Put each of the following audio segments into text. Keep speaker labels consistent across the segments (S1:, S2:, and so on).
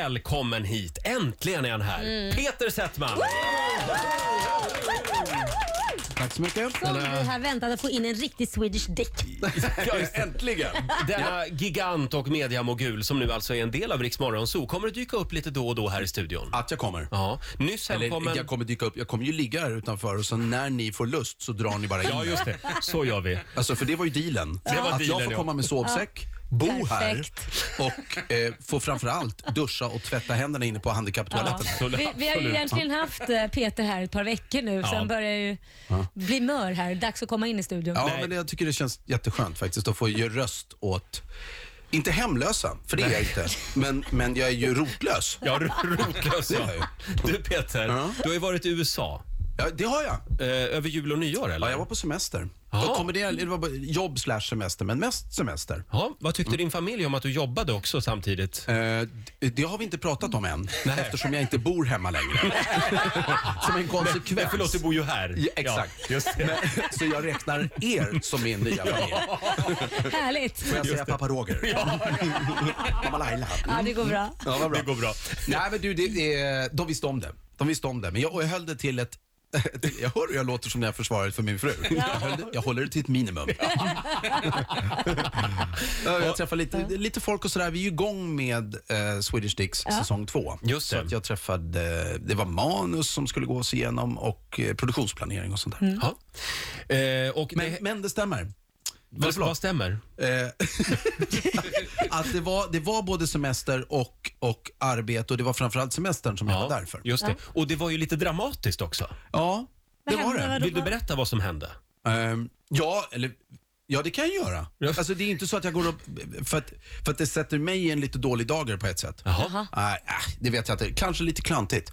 S1: välkommen hit! Äntligen är han här! Peter Settman!
S2: Tack så mycket.
S3: Som vi här väntade att få in en riktig Swedish Dick.
S1: Ja, just det.
S2: Äntligen!
S1: Denna gigant och mediamogul som nu alltså är en del av Rix Morgon Zoo kommer att dyka upp lite då och då här i studion.
S2: Att jag kommer.
S1: Ja, nyss hemkommen...
S2: Ah. Eller jag kommer dyka upp. Jag kommer ju ligga här utanför och så när ni får lust så drar ni bara in.
S1: Ja, just det. Så gör vi.
S2: Alltså för det var ju dealen.
S1: Det var
S2: att
S1: dealen,
S2: jag får
S1: ja.
S2: komma med sovsäck, bo
S3: Perfekt.
S2: här och eh, få framförallt duscha och tvätta händerna inne på handikapptoaletten.
S1: Absolut.
S3: Vi, vi har ju egentligen haft eh, Peter här ett par veckor nu, så
S1: Ja.
S3: han börjar ju bli mör här. Dags att komma in i studion.
S2: Ja,
S1: Nej.
S2: men jag tycker det känns jätteskönt faktiskt att få ge röst åt inte hemlösa, för det är jag inte, men, men jag är ju rotlös.
S1: Ja, ro- rotlös ja.
S2: Det är jag
S1: Du Peter,
S2: Ja.
S1: du har ju varit i USA
S2: Ja, det har jag.
S1: eh, över jul och nyår eller?
S2: Ja, jag var på semester.
S1: Jaha.
S2: Då kommer det, det var bara jobb slash semester, men mest semester.
S1: Ja, vad tyckte din familj om att du jobbade också samtidigt?
S2: Eh, d- det har vi inte pratat om än, eftersom jag inte bor hemma längre. som en konsekvens.
S1: Nej, förlåt, du bor ju här.
S2: Ja, exakt.
S1: Ja, just det.
S2: Men- Så jag räknar er som min nya familj.
S3: Härligt!
S2: Får jag säga pappa Roger? Mamma Laila.
S3: Ja, det går bra.
S2: Ja, vad bra.
S1: Det går bra.
S2: Nej, men du, det, det, de visste om det. De visste om det, men jag, och jag höll det till ett till- jag hör hur jag låter som när jag försvarar för min fru. Jag, höll, det- jag håller det till ett minimum. Ja, jag träffar lite, lite folk och sådär. Vi är ju igång med eh, Swedish Dicks säsong två.
S1: Just
S2: Så
S1: det.
S2: att jag träffade, det var manus som skulle gås igenom och eh, produktionsplanering och
S3: Mm.
S2: sånt där.
S1: Ja. Eh, och
S2: Men,
S1: det,
S2: men det stämmer.
S1: vad, vad stämmer?
S2: Eh, att det var, det var både semester och, och arbete och det var framförallt semestern som jag var där för.
S1: just det. Och det var ju lite dramatiskt också.
S2: Ja, det
S3: Vad
S2: var
S3: hände?
S2: det.
S3: Vadå?
S1: Vill du berätta vad som hände?
S2: Ehm, ja, eller... Ja, det kan jag göra.
S1: Ja.
S2: Alltså, det är inte så att jag går upp... För att, för att det sätter mig i en lite dålig dager på ett sätt.
S1: Jaha.
S2: Nej, äh, det vet jag inte. Kanske lite klantigt.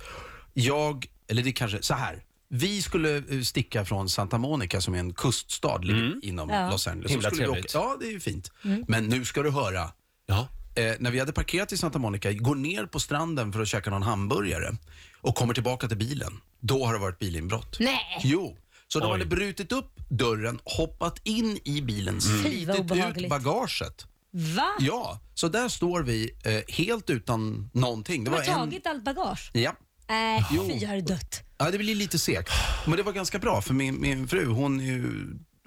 S2: Jag... Eller det kanske... Så här. Vi skulle eh, sticka från Santa Monica som är en kuststad ligger inom
S3: Ja.
S2: Los Angeles.
S1: Mm. Himla
S2: Så skulle vi
S1: trevligt.
S2: åka- Ja, det är ju fint. Men nu ska du höra.
S1: Ja.
S2: Eh, när vi hade parkerat i Santa Monica, går ner på stranden för att käka någon hamburgare och kommer tillbaka till bilen. Då har det varit bilinbrott.
S3: Nej.
S2: Jo. Så de
S1: Oj.
S2: hade brutit upp dörren, hoppat in i bilen,
S3: Mm. vad
S2: slitit ut
S3: obehagligt.
S2: bagaget.
S3: Va?
S2: Ja, så där står vi eh, helt utan någonting. Det
S3: De
S2: var
S3: har
S2: en...
S3: tagit allt bagage?
S2: Ja.
S3: Nej, fy har det dött.
S2: ja, det blir lite segt. Men det var ganska bra för min, min fru, hon är ju...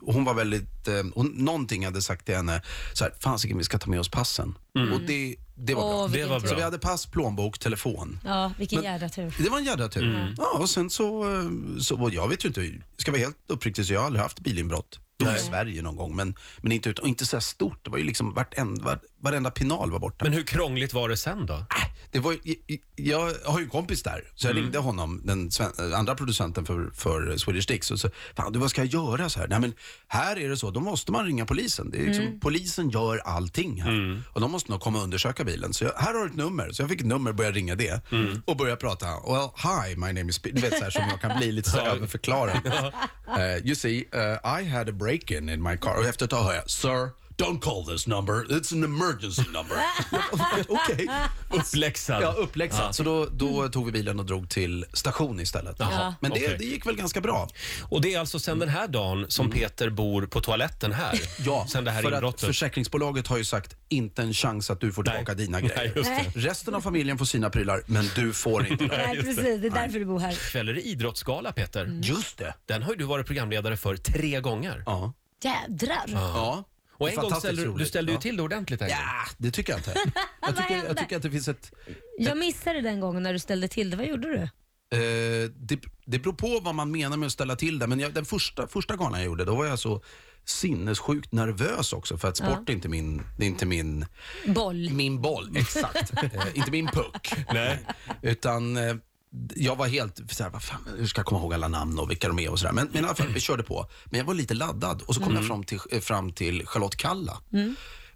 S2: Hon var väldigt, eh, hon, någonting hade sagt till henne, så här, fasiken vi ska ta med oss passen. Och det, det var bra.
S3: Mm. Åh,
S1: Det
S3: vilken
S1: var
S3: tur.
S2: Så vi
S1: bra.
S2: hade pass, plånbok, telefon.
S3: Ja, vilken
S2: Men-
S3: jädra tur.
S2: Det var en jädra tur. Ja, och sen så, eh, så och jag vet ju inte, ska vara helt uppriktig så jag har aldrig haft bilinbrott. Jo, i Sverige någon gång, men, men inte, ut, och inte så här stort. Det var ju liksom vartenda, var, varenda pinal var borta.
S1: Men hur krångligt var det sen då?
S2: Äh, det var, ju- jag, jag har ju en kompis där, så jag ringde honom, den sven, andra producenten för, för Swedish Dicks och så, fan du vad ska jag göra så här? Nej men här är det så, då måste man ringa polisen. Det är liksom, Polisen gör allting här och de måste nog komma och undersöka bilen. Så jag, här har du ett nummer, så jag fick ett nummer och började ringa det och började prata. Well, hi, my name is... Pe-" Du vet så här som jag kan bli lite så här överförklarad. Eh, you see, eh, I had a break-in in my car. Och efter ett tag hör jag, sir, don't call this number, it's an emergency number. Okej.
S1: Uppläxad.
S2: Ja, uppläxat. Så då, då tog vi bilen och drog till station istället.
S1: Jaha,
S2: Men det,
S1: okej.
S2: det gick väl ganska bra.
S1: Och det är alltså sen den här dagen som Peter bor på toaletten här. Sen det här
S2: Mm. för att
S1: inbrottet.
S2: försäkringsbolaget har ju sagt inte en chans att du får tillbaka dina
S1: Nej,
S2: grejer.
S1: just det.
S3: Nej.
S2: Resten av familjen får sina prylar, men du får inte dem.
S3: Nej, precis. Det är därför du bor här.
S1: Kväll är det idrottsgala Peter.
S2: Just det.
S1: Den har ju du varit programledare för tre gånger.
S2: Mm. Ja.
S3: Jädrar!
S2: ja.
S1: Och
S2: Det är
S1: en gång
S2: fantastiskt
S1: ställde du, du
S2: roligt.
S1: ställde ju
S2: Ja.
S1: till det ordentligt en gång.
S2: Ja, det tycker jag inte. Jag tycker, jag
S3: hände?
S2: tycker att det finns ett...
S3: Jag missade den gången när du ställde till det. Vad gjorde du?
S2: Eh, det, det beror på vad man menar med att ställa till det, men jag, den första, första galan jag gjorde, då var jag så sinnessjukt nervös också för att sport är inte min, det är inte min,
S3: Boll.
S2: min boll, exakt. eh, inte min puck.
S1: Nej.
S2: Utan eh, jag var helt så här, vad fan, hur ska jag komma ihåg alla namn och vilka de är och sådär. Men, men i alla fall, vi körde på. Men jag var lite laddad och så kom
S1: Mm.
S2: jag fram till, eh, fram till Charlotte Kalla.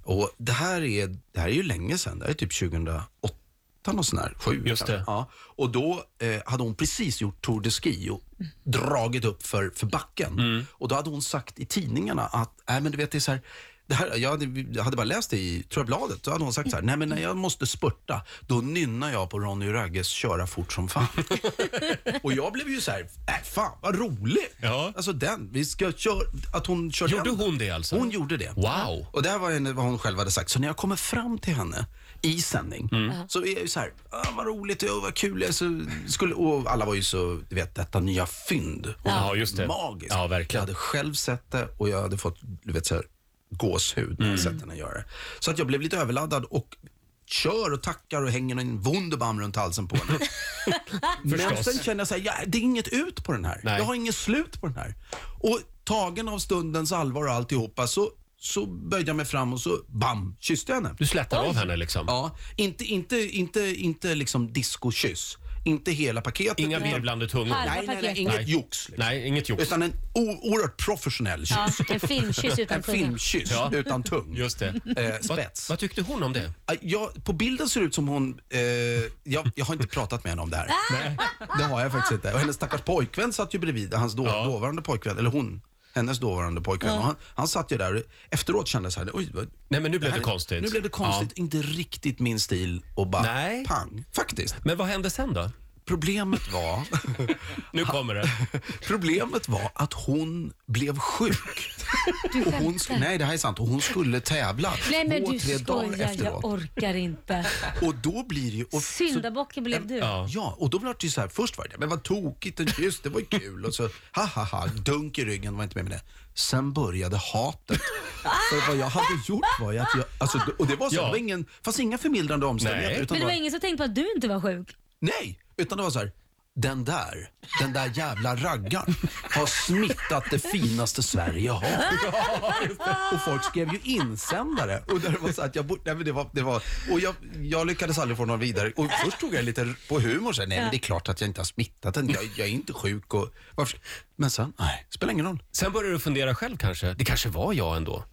S2: Och det här, är, det här är ju länge sedan, det här är typ 2008 och sådär, sju
S1: Just
S2: kanske.
S1: det.
S2: Ja. Och då eh, hade hon precis gjort Tour de Ski och
S1: Mm.
S2: dragit upp för, för backen. Och då hade hon sagt i tidningarna att, nej men du vet det är så här, det här, jag, hade, jag hade bara läst det i, tror jag, bladet. Då hade hon sagt så här, nej men när jag måste spurta, då nynnar jag på Ronny och Ragges köra fort som fan. och jag blev ju så här, äh, fan vad roligt.
S1: Ja.
S2: Alltså den, vi ska köra, att hon kör
S1: Gjorde
S2: den.
S1: hon det alltså?
S2: Hon gjorde det.
S1: Wow.
S2: Och det här var henne, vad hon själv hade sagt. Så när jag kommer fram till henne i sändning så är jag ju så här, ah, vad roligt, ja, vad kul. Jag så skulle, och alla var ju så, du vet detta nya fynd. Och
S1: Ja, just det.
S2: Magiskt.
S1: Ja, verkligen.
S2: Jag hade själv sett det och jag hade fått, du vet så här, gåshud när jag
S1: Mm.
S2: sett henne göra det. Så att jag blev lite överladdad och kör och tackar och hänger en Wunderbaum runt halsen på henne. Men
S1: Förstås.
S2: sen känner jag så här, ja, det är inget ut på den här.
S1: Nej.
S2: Jag har inget slut på den här. Och tagen av stundens allvar och alltihopa så, så böjde jag mig fram och så bam, kysste jag henne.
S1: Du slätar av henne liksom?
S2: Ja, inte, inte, inte, inte liksom diskokyss. Inte hela paketet.
S1: Inga
S2: utan-
S1: virvlande tungor?
S3: Halva
S2: Nej, nej, nej,
S3: paketet.
S2: inget
S1: Nej.
S2: jox. Liksom.
S1: Nej, inget jox.
S2: Utan en o- oerhört professionell kyss.
S3: Ja, en filmkyss utan
S2: En
S3: tunga.
S2: filmkyss
S1: Ja.
S2: utan tung.
S1: Just det.
S2: Eh,
S1: Vad,
S2: spets.
S1: vad tyckte hon om det?
S2: Ah, Jag, på bilden ser det ut som hon... Eh, jag, jag har inte pratat med henne om det här. Det har jag faktiskt inte. Och hennes stackars pojkvän satt ju bredvid. Hans då,
S1: Ja.
S2: dåvarande pojkvän, eller hon. Hennes dåvarande pojkvän. Och han, han satt ju där och efteråt kände jag så här, oj, vad,
S1: Nej, men nu blev
S2: här-
S1: det konstigt.
S2: Nu blev det konstigt. Inte riktigt min stil och bara
S1: Nej.
S2: pang. Faktiskt.
S1: Men vad hände sen då?
S2: Problemet var,
S1: Nu kommer det.
S2: problemet var att hon blev sjuk. Och hon, sk- nej, det här är sant. Och hon skulle tävla
S3: Nej men
S2: två,
S3: du
S2: tre dagar
S3: skojar,
S2: efteråt.
S3: jag orkar inte.
S2: Och då blir det ju... Och, så-
S3: Syndabocken blev du.
S1: Ja.
S2: Ja, och då blev det ju så här, först var det men vad tokigt, en kyss, det var ju kul och så ha ha ha, dunk i ryggen, var inte med med det. Sen började hatet.
S3: Ah!
S2: För vad jag hade gjort var ju att jag, alltså, och det var så,
S1: Ja.
S2: det var ingen, fanns inga förmildrande omständigheter.
S1: Nej.
S2: Utan
S3: Men det var
S2: bara,
S3: ingen som tänkte på att du inte var sjuk.
S2: nej, utan det var så här, den där, den där jävla raggaren har smittat det finaste Sverige har. Och folk skrev ju insändare. Och där det var så att jag borde, nej men det var, det var, och jag, jag lyckades aldrig få någon vidare. Och först tog jag lite på humor sen. Nej men det är klart att jag inte har smittat den. Jag, jag är inte sjuk och varför? Men sen, nej, spelar ingen roll.
S1: Sen började du fundera själv kanske. Det kanske var jag ändå?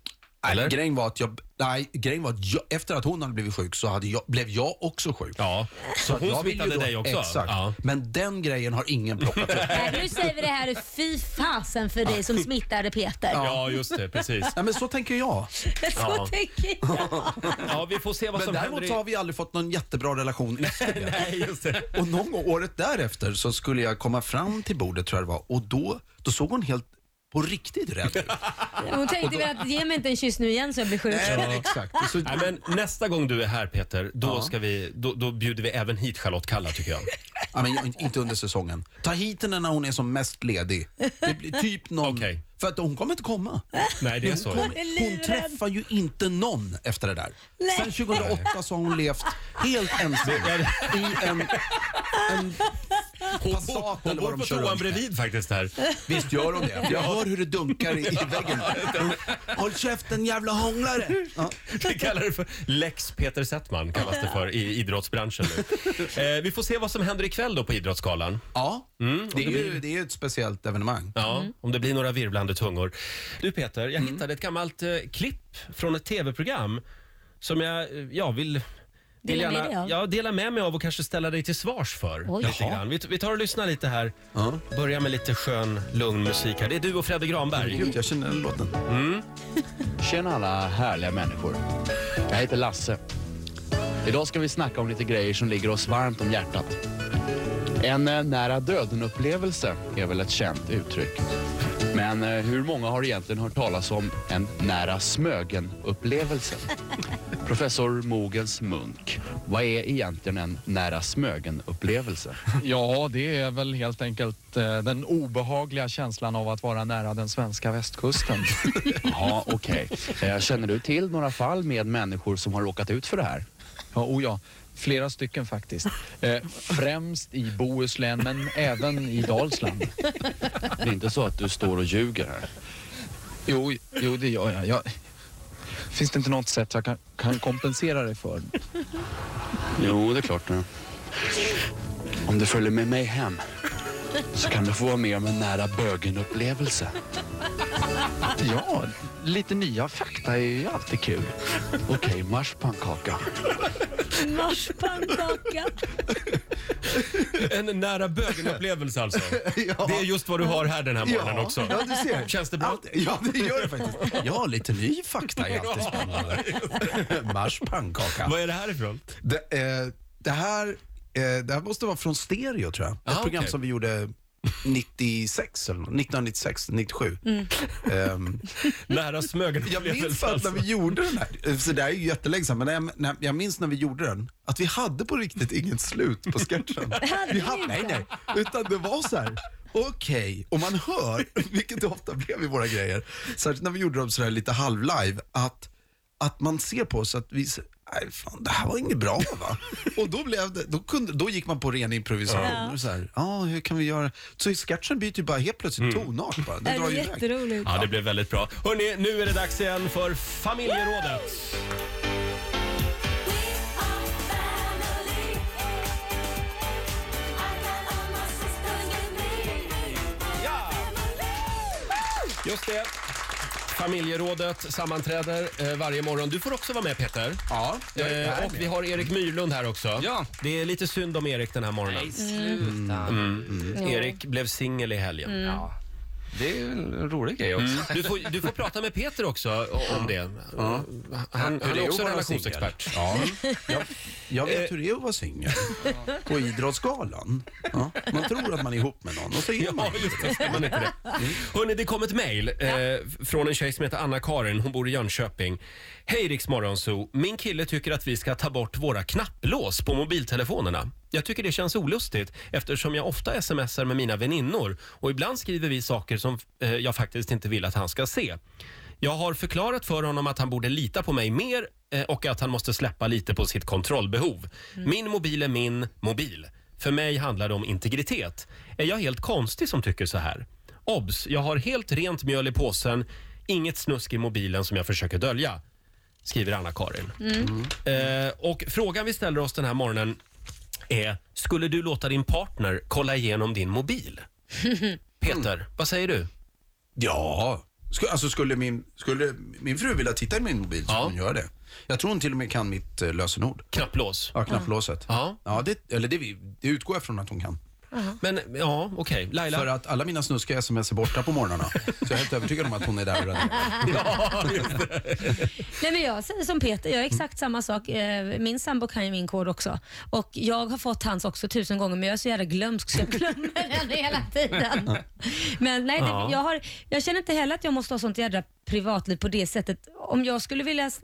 S2: Nej,
S1: Eller?
S2: grejen var att jag, nej, grejen var att jag, efter att hon hade blivit sjuk så hade jag, blev jag också sjuk.
S1: Ja, så
S2: att jag
S1: hon
S2: vill ju
S1: smittade
S2: då-
S1: dig också?
S2: Exakt.
S1: Ja.
S2: Men den grejen har ingen plockat upp.
S3: Nej, nu säger vi det här. Fy fasen för dig som smittade Peter.
S1: ja, just det. Precis.
S2: Nej men så tänker jag.
S3: Så
S1: Ja.
S3: tänker jag.
S1: Ja, vi får se vad
S2: Men
S1: som händer.
S2: däremot så har
S1: i-
S2: vi aldrig fått någon jättebra relation efter det.
S1: Nej, just det.
S2: Och någon gång året därefter så skulle jag komma fram till bordet tror jag det var och då, då såg hon helt på riktigt rädd ut.
S3: Hon tänkte väl att ge mig inte en kyss nu igen så jag blir sjuk.
S2: Ja. Exakt. Och Så,
S1: Nej, men nästa gång du är här Peter, då, ska vi, då, då bjuder vi även hit Charlotte Kalla tycker jag.
S2: ja, men jag- inte under säsongen. Ta hit henne när hon är som mest ledig. Det blir typ någon.
S1: Okej.
S2: För att hon kommer inte komma.
S1: Nej, det är så.
S2: Hon,
S3: Jag är
S2: hon
S3: livrädd.
S2: träffar ju inte någon efter det där. Sen 2008 så har hon levt helt ensam i en, en Passat
S1: Hon
S2: eller
S1: bor
S2: vad de
S1: på
S2: kör
S1: toan
S2: runt med.
S1: bredvid faktiskt här.
S2: Visst gör hon det? Jag hör hur det dunkar i, i väggen. Håll käften jävla hånglare! Ja.
S1: Vi kallar det för Lex Peter Settman kallas det för i idrottsbranschen nu. Eh, vi får se vad som händer ikväll då på Idrottsgalan.
S2: Ja, Mm, det, är ju, det är ju ett speciellt evenemang.
S1: Ja,
S3: Mm.
S1: om det blir några virvlande tungor. Du Peter, jag hittade ett gammalt eh, klipp från ett tv-program som jag, eh, ja, vill, vill
S3: Dela med dig av.
S1: ja, dela med mig av och kanske ställa dig till svars för.
S3: Oj.
S1: Lite
S2: Jaha.
S1: grann. Vi, vi tar och lyssnar lite här.
S2: Ja.
S1: Börja med lite skön, lugn musik här. Det är du och Fredde Granberg.
S2: Gud, jag känner den låten.
S4: Tjena alla härliga människor. Jag heter Lasse. Idag ska vi snacka om lite grejer som ligger oss varmt om hjärtat. En eh, nära döden-upplevelse är väl ett känt uttryck. Men eh, hur många har egentligen hört talas om en nära smögen-upplevelse? Professor Mogens Munk, vad är egentligen en nära smögen-upplevelse?
S5: Ja, det är väl helt enkelt eh, den obehagliga känslan av att vara nära den svenska västkusten.
S4: Ja, okej. Eh, Känner du till några fall med människor som har råkat ut för det här?
S5: Ja, oh ja, flera stycken faktiskt. Eh, främst i Bohuslän, men även i Dalsland.
S4: Det är inte så att du står och ljuger här?
S5: Jo, jo det gör jag. jag. Finns det inte något sätt jag kan, kan kompensera dig för?
S4: Jo, det är klart. det. Om du följer med mig hem så kan du få vara med om en nära bögen-upplevelse.
S5: Ja,
S4: Lite nya fakta är ju alltid kul. Okej, marschpannkaka.
S3: Marspannkaka.
S1: En nära bögen-upplevelse alltså.
S2: Ja.
S1: Det är just vad du har här den här morgonen också.
S2: Ja, du ser.
S1: Känns det bra?
S2: Allt- ja, det gör det faktiskt. Ja, lite ny fakta är alltid spännande. Mars pannkaka.
S1: Vad är det här ifrån?
S2: Det, eh, det, här, eh, det här måste vara från Stereo, tror jag. Ett
S1: Ah,
S2: program
S1: okej.
S2: som vi gjorde 96 eller något, 1996, 97. Ehm,
S1: Nära
S2: jag minns
S1: smögen-upplevelse
S2: att när
S1: alltså.
S2: vi gjorde den här, eh, så det här är ju jättelänge sedan, men när jag, när, jag minns när vi gjorde den, att vi hade på riktigt inget slut på sketchen. Vi hade, nej, nej. Utan det var så här, okej, och man hör, vilket det ofta blev i våra grejer, särskilt när vi gjorde dem så här lite halvlive, att, att man ser på oss att vi, s- nej fan, det här var inget bra va? Och då, blev det, då, kunde, då gick man på ren improvisation. Och så här, ja, hur kan vi göra? Så i sketchen byter ju bara helt plötsligt tonart bara.
S3: Det
S2: Det drar
S3: är
S2: ju iväg.
S3: jätteroligt.
S1: Ja, det blev väldigt bra. Hörni, nu är det dags igen för familjerådet. Just det. Familjerådet sammanträder eh, varje morgon. Du får också vara med Peter.
S2: Ja, jag är
S1: Eh, och vi har Erik Myrlund här också.
S6: Ja.
S1: Det är lite synd om Erik den här morgonen. Mm.
S6: sluta. Mm.
S1: Erik blev singel i helgen.
S6: Ja. Det är ju en rolig grej också.
S1: Du, får, du får prata med Peter också om det. Han,
S6: Hur
S1: han
S6: det
S1: är
S6: är
S1: också
S6: att vara
S1: relationsexpert.
S2: Ja, jag, jag vet hur det är att vara singel. På Idrottsgalan. Ja, man tror att man är ihop med någon och så är man
S1: Ja, just det. ska Man inte det. Mm. Hörrni, det kom ett mejl eh, från en tjej som heter Anna-Karin. Hon bor i Jönköping. Hej Rix Morgonzoo. Min kille tycker att vi ska ta bort våra knapplås på mobiltelefonerna. Jag tycker det känns olustigt eftersom jag ofta smsar med mina väninnor och ibland skriver vi saker som eh, jag faktiskt inte vill att han ska se. Jag har förklarat för honom att han borde lita på mig mer eh, och att han måste släppa lite på sitt kontrollbehov. Min mobil är min mobil. För mig handlar det om integritet. Är jag helt konstig som tycker så här? Obs! Jag har helt rent mjöl i påsen, inget snusk i mobilen som jag försöker dölja. Skriver Anna-Karin. Eh, och frågan vi ställer oss den här morgonen är, skulle du låta din partner kolla igenom din mobil? Peter, vad säger du?
S2: Ja, Sku- alltså skulle min, skulle min fru vilja titta i min mobil så
S1: Ja.
S2: skulle hon göra det. Jag tror hon till och med kan mitt eh, lösenord.
S1: Knapplås.
S2: Ja, knapplåset.
S1: Ja.
S2: Ja, det, eller det, vi- det utgår jag från att hon kan.
S1: Men ja, okej. Laila?
S2: För att alla mina snuskiga sms är borta på morgnarna. Så jag är helt övertygad om att hon är där och raderar.
S1: Ja, just det.
S3: Nej, men jag säger som Peter, jag är exakt
S1: Mm.
S3: samma sak. Eh, Min sambo kan ju min kod också. Och Jag har fått hans också tusen gånger men jag är så jävla glömsk så jag glömmer den hela tiden. Men nej,
S1: Ja.
S3: det, jag, har, jag känner inte heller att jag måste ha sånt jädra privatliv på det sättet. Om jag skulle vilja... s-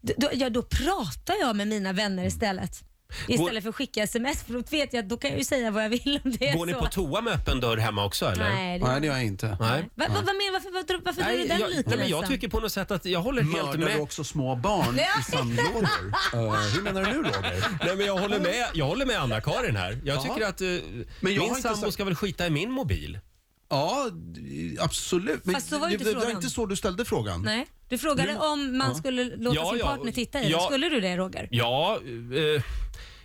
S3: d- Då, ja, då pratar jag med mina
S1: Mm.
S3: vänner istället. Istället för att skicka sms, för då vet jag att då kan jag ju säga vad jag vill om det är
S1: Går ni
S3: så.
S1: på toa med öppen dörr hemma också eller?
S3: Nej, det,
S2: Nej, det gör jag inte.
S1: Nej.
S3: Va, va, vad menar- varför varför, varför drar du den
S1: jag,
S3: liten liksom?
S1: nej, men jag
S3: Lisa?
S1: tycker på något sätt att jag håller helt
S2: Mördar du
S1: med.
S2: också små barn i sandlådor? Eh, hur menar du nu, Roger?
S1: Nej, men jag håller med, jag håller med Anna-Karin här. Jag tycker att eh,
S2: Men jag
S1: min
S2: har inte
S1: sambo
S2: sagt-
S1: ska väl skita i min mobil.
S2: Ja, d- absolut. Men
S3: Fast så var ju
S2: det,
S3: inte
S2: det, det var
S3: frågan.
S2: inte så du ställde frågan.
S3: Nej, du frågade om man skulle låta
S1: Ja,
S3: sin
S1: ja,
S3: partner titta i
S1: ja.
S3: den. Skulle du det Roger?
S1: Ja, eh,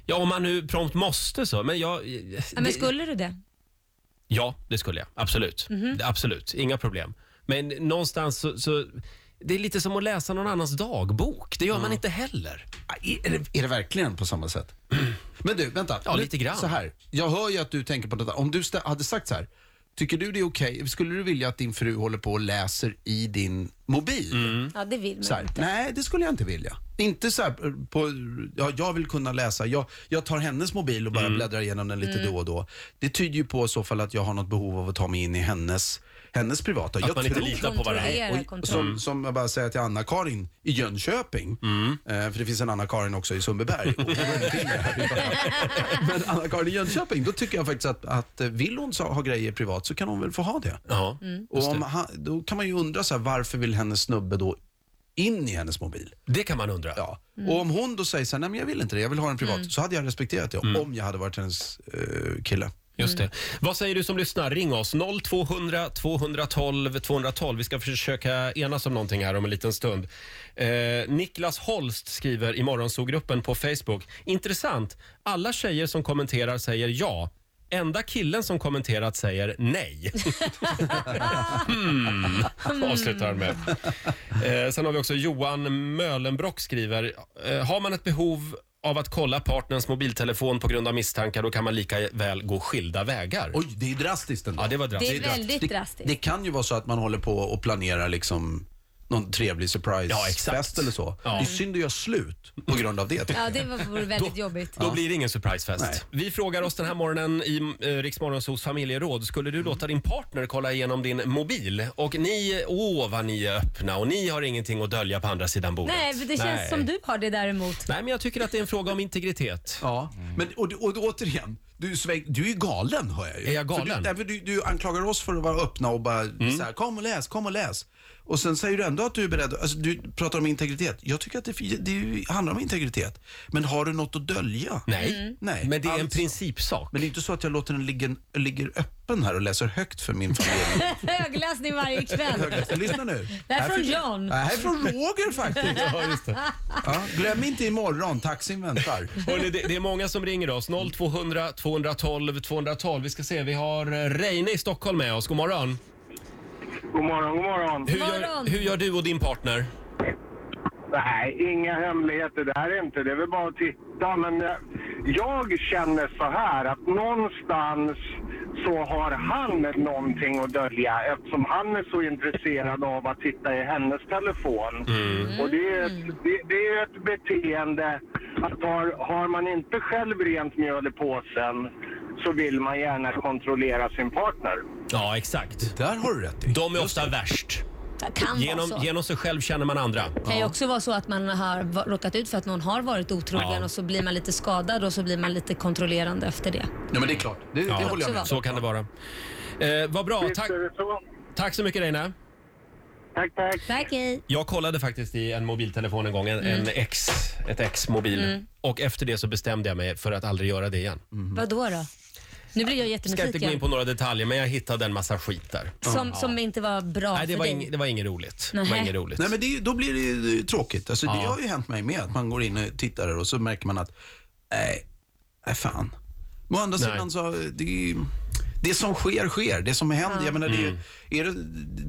S1: ja, om man nu prompt måste så. Men jag...
S3: Ja, men skulle du det?
S1: Mm. Ja, det skulle jag. Absolut.
S3: Mhm.
S1: Det- Absolut. Inga problem. Men någonstans så, så... Det är lite som att läsa någon annans dagbok. Det gör man inte heller.
S2: Är det, är det verkligen på samma sätt? Men du, vänta.
S1: Ja,
S2: Nu-
S1: lite grann.
S2: Så här. Jag hör ju att du tänker på detta. Om du stä- hade sagt så här. Tycker du det är okej? Skulle du vilja att din fru håller på och läser i din mobil?
S1: Mm.
S3: Ja, det vill
S2: Så
S3: man
S2: här,
S3: inte.
S2: nej, det skulle jag inte vilja. Inte så här eh, på, ja, jag vill kunna läsa. Jag, jag tar hennes mobil och bara
S1: Mm.
S2: bläddrar igenom den lite
S3: Mm.
S2: då och då. Det tyder ju på i så fall att jag har något behov av att ta mig in i hennes, hennes privata.
S1: Att
S2: jag
S1: man inte
S2: tror-
S1: litar på varandra.
S3: Kontrollera
S2: och
S3: kontroll.
S1: Mm.
S2: som, som jag bara säger till Anna-Karin i Jönköping, eh, för det finns en Anna-Karin också i Sundbyberg. Och- Men Anna-Karin i Jönköping, då tycker jag faktiskt att, att eh, vill hon så- ha grejer privat så kan hon väl få ha det.
S1: Ja.
S3: Mm.
S2: Och om han, då kan man ju undra så här, varför vill hennes snubbe då in i hennes mobil?
S1: Det kan man undra.
S2: Ja. Och om hon då säger så här, nej men jag vill inte det, jag vill ha den privat,
S1: Mm.
S2: så hade jag respekterat det om jag hade varit hennes eh, kille.
S1: Just
S3: Mm.
S1: det. Vad säger du som lyssnar? Ring oss. 0200 212 212. Vi ska försöka enas om någonting här om en liten stund. Eh, Niklas Holst skriver i Morgonzoo-gruppen på Facebook. Intressant. Alla tjejer som kommenterar säger ja. Enda killen som kommenterat säger nej. hmm.
S3: Mm.
S1: Avslutar han med. Eh, sen har vi också Johan Mölenbrock skriver. Eh, har man ett behov av att kolla partners mobiltelefon på grund av misstankar, då kan man lika väl gå skilda vägar.
S2: Oj, det är drastiskt ändå.
S1: Ja, det var drastiskt.
S3: Det är väldigt drastiskt.
S2: Det, det kan ju vara så att man håller på och planerar liksom någon trevlig
S1: Ja, exakt.
S2: surprisefest eller så.
S1: Ja.
S2: Det är synd att göra slut på grund av det. tycker
S3: Ja,
S2: jag.
S3: det var- vore väldigt jobbigt.
S1: Då blir det ingen surprisefest.
S2: Nej.
S1: Vi frågar oss den här morgonen i eh, Riksmorgonsols familjeråd. Skulle du låta din partner kolla igenom din mobil? Och ni, åh vad ni är öppna och ni har ingenting att dölja på andra sidan bordet.
S3: Nej, men det känns
S1: Nej.
S3: som du har det däremot.
S1: Nej, men jag tycker att det är en fråga om integritet.
S2: Ja, men och, och, återigen, du, sväng, du är galen hör jag ju.
S1: Är jag galen? Mm.
S2: För du, därför du, du anklagar oss för att vara öppna och bara så här, kom och läs, kom och läs. Och sen säger du ändå att du är beredd, alltså du pratar om integritet. Jag tycker att det, det handlar om integritet. Men har du något att dölja?
S1: Nej,
S3: Mm.
S2: Nej,
S1: men det är en
S2: alltså.
S1: principsak.
S2: Men det är inte så att jag låter den ligga, ligger öppen här och läser högt för min familj.
S3: Högläsning varje kväll.
S2: Lyssna nu.
S3: Det här är från
S2: fick-
S3: John.
S2: Det här är från Roger faktiskt. Ja, glöm inte imorgon, taxin väntar.
S1: Hörrni, det, det är många som ringer oss. 0200 212 212. Vi ska se, vi har eh, Reine i Stockholm med oss. God morgon.
S7: God morgon, god morgon.
S1: Hur,
S3: Morgon.
S1: Gör, hur gör du och din partner?
S7: Nej, inga hemligheter där inte. Det är väl bara att titta. Men eh, jag känner så här att någonstans så har han någonting att dölja eftersom han är så intresserad av att titta i hennes telefon. Och det är, ett, det, det är ett beteende att har, har man inte själv rent mjöl i påsen så vill man gärna kontrollera sin partner.
S1: Ja, exakt.
S2: Där har du rätt i.
S1: De är ofta värst.
S3: Det kan vara
S1: Genom,
S3: så.
S1: genom sig själv känner man andra.
S3: Det kan ju också vara så att man har va- råkat ut för att någon har varit otrogen
S1: Ja.
S3: och så blir man lite skadad och så blir man lite kontrollerande efter det.
S2: Ja, men det är klart. Det, det håller jag med om.
S1: Så kan det vara. Eh, vad bra.
S7: Visst
S1: Tack,
S7: är det så?
S1: tack så mycket Reine.
S7: Tack, tack.
S3: Tack hej.
S1: Jag kollade faktiskt i en mobiltelefon en gång, en,
S2: Mm.
S1: en X, ett X-mobil. Och efter det så bestämde jag mig för att aldrig göra det igen.
S2: Mm.
S3: Vadå då? Nu blir jag
S1: Mm. Ska inte gå in
S3: jättenyfiken.
S1: på några detaljer men jag hittade en massa skit där.
S3: Som, som inte var bra
S1: Nej, det
S3: för
S1: var,
S3: dig.
S1: ing, det var inget roligt. Det var
S3: Nähä.
S1: inget roligt.
S2: Nej, men det, är- då blir det ju tråkigt. Alltså, Det
S1: Ja.
S2: har ju hänt mig med, att man går in och tittar och så märker man att, nej, nej fan. Men å andra
S1: Nej.
S2: sidan så, det, är ju- det som sker, sker. Det som händer, jag menar, det, är
S1: Mm.
S2: ju- är det,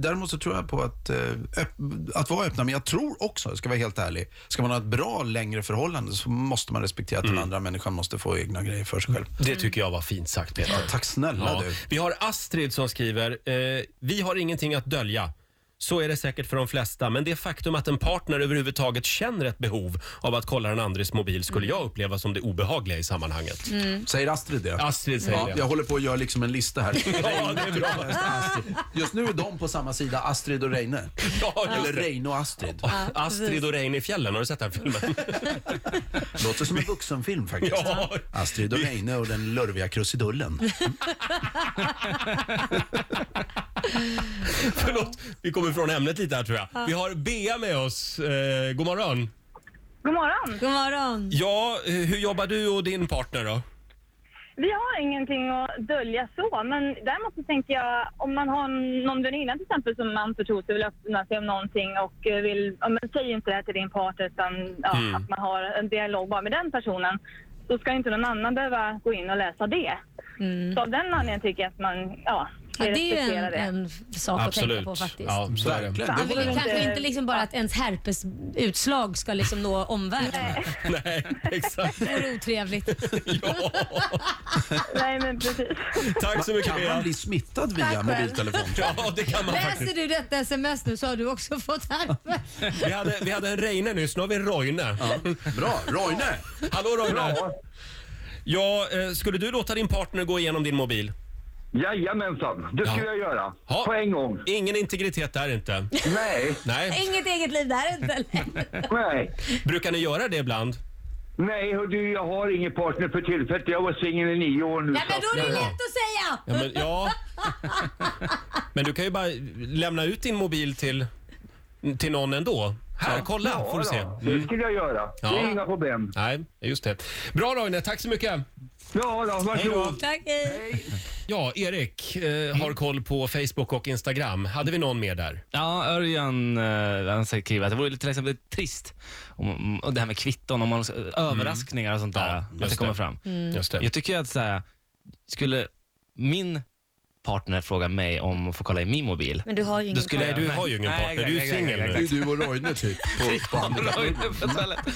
S2: däremot så tror jag på att, eh, öpp- att vara öppna, men jag tror också, ska vara helt ärlig, ska man ha ett bra längre förhållande så måste man respektera att
S1: Mm.
S2: den andra människan måste få egna grejer för sig själv.
S1: Det tycker jag var fint sagt Peter.
S2: Tack snälla
S1: Mm. Ja.
S2: du.
S1: Vi har Astrid som skriver, eh, vi har ingenting att dölja. Så är det säkert för de flesta, men det faktum att en partner överhuvudtaget känner ett behov av att kolla den andres mobil skulle jag uppleva som det obehagliga i sammanhanget.
S3: Mm.
S2: Säger Astrid det?
S1: Astrid säger
S2: Ja,
S1: det.
S2: jag håller på att göra liksom en lista här.
S1: Ja, det är bra.
S2: Just nu är de på samma sida, Astrid och Reine.
S1: Ja,
S2: Eller
S1: just det.
S2: Reine och Astrid.
S1: Astrid och Reine i fjällen, har du sett den filmen?
S2: Låter som en vuxenfilm faktiskt.
S1: Ja.
S2: Astrid och Reine och den lurviga krusidullen.
S1: Förlåt, vi kommer från ämnet lite här tror jag. Vi har Bea med oss. Eh, god morgon.
S8: God morgon!
S3: God morgon.
S1: Ja, eh, hur jobbar du och din partner då?
S8: Vi har ingenting att dölja så, men däremot så tänker jag om man har någon väninna till exempel som man förtror sig vill öppna sig om någonting och eh, vill, ja, men säg inte det här till din partner utan ja,
S9: Mm.
S8: att man har en dialog bara med den personen. Då ska inte någon annan behöva gå in och läsa det. Så av den anledningen tycker jag att man, ja,
S3: Mm. Ja, det är ju
S8: respekterar
S3: en,
S8: det.
S3: en sak att tänka på faktiskt.
S1: Ja, så är det.
S2: Verkligen.
S3: Man
S2: Det
S3: vill ju
S2: var
S3: kanske inte liksom bara att ens herpesutslag ska liksom nå omvärlden.
S1: Nej, exakt.
S3: Det vore otrevligt.
S1: Ja.
S8: Nej, men precis.
S1: Tack så mycket
S2: kan man
S1: Bea.
S2: bli smittad via
S8: själv.
S2: mobiltelefon?
S1: Ja, det kan man faktiskt.
S3: Läser du detta sms nu så har du också fått herpes.
S1: Vi hade, vi hade en Reine nyss, nu har vi en Roine.
S2: Bra, Roine!
S1: Hallå Roine! Ja, eh, skulle du låta din partner gå igenom din mobil?
S9: Jajamensan, det skulle
S1: Ja.
S9: jag göra.
S1: Ja.
S9: På en gång.
S1: Ingen integritet där inte.
S9: Nej,
S1: Nej.
S3: Inget eget liv där inte. eller?
S9: nej.
S1: Brukar ni göra det ibland?
S9: Nej, hör du, jag har ingen partner för tillfället. Jag var singel i nio år nu.
S3: Nej men
S9: så
S3: då är det
S9: att-
S3: lätt att säga.
S1: Ja men, ja. men du kan ju bara lämna ut din mobil till, till någon ändå. Här, kolla får du se.
S9: Ja, då. det skulle jag göra. Det
S1: Ja.
S9: är inga problem.
S1: Nej, just det. Bra Roine, tack så mycket.
S9: Ja, då, varsågod.
S3: Tack hej.
S1: Ja, Erik eh, har koll på Facebook och Instagram. Hade vi någon mer där?
S10: Ja, Örjan eh, han skriver att det vore till exempel trist om, och det här med kvitton, om man, överraskningar och sånt där,
S1: Ja,
S10: att
S1: just Mm.
S10: det kommer
S1: det.
S10: fram.
S1: Just det.
S10: Jag tycker att så här, skulle min partner frågar mig om att få kolla i min mobil.
S3: Men du har ju
S10: Då
S3: ingen
S10: skulle jag- Nej,
S3: partner.
S10: nej, exakt, exakt, exakt.
S2: Det är du och Roine typ. På, på
S10: Roine på toaletten.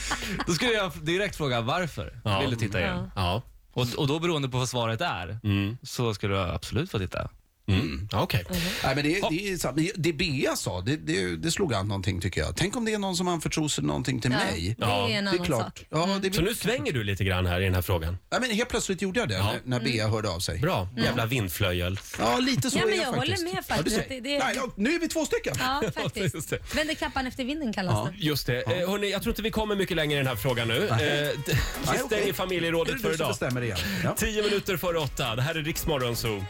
S10: Då skulle jag direkt fråga varför.
S1: Ja.
S10: Vill du titta igen?
S1: Ja.
S10: Och, och då beroende på vad svaret är, så skulle jag absolut få titta.
S1: Mm. Okej.
S2: Nej, men det, det, är, sant. Men det Bea sa, det, det, det slog an någonting tycker jag. Tänk om det är någon som anförtror sig någonting till
S3: Ja,
S2: mig.
S3: det är Ja. en annan Mm. sak.
S2: Ja, det blir...
S1: Så nu svänger du lite grann här i den här frågan.
S2: Nej, men helt plötsligt gjorde jag det när, när Bea hörde av sig.
S1: Bra. Jävla vindflöjel.
S2: Ja, lite så
S3: Mm. Ja,
S2: är
S3: men jag
S2: faktiskt.
S3: håller med
S2: Ja, du
S3: faktiskt.
S2: ser.
S3: Det- det-
S2: Nej, ja, nu är vi två stycken.
S3: Ja, faktiskt.
S1: Just det.
S3: Vänder kappan efter vinden kallas det.
S1: Just det. Eh, hörni, jag tror inte vi kommer mycket längre i den här frågan nu. Eh, d- vi stänger
S2: okej.
S1: familjerådet
S2: Det är
S1: för
S2: du som
S1: idag.
S2: bestämmer igen. Ja.
S1: Tio minuter före åtta. Det här är Riksmorgon Zoo.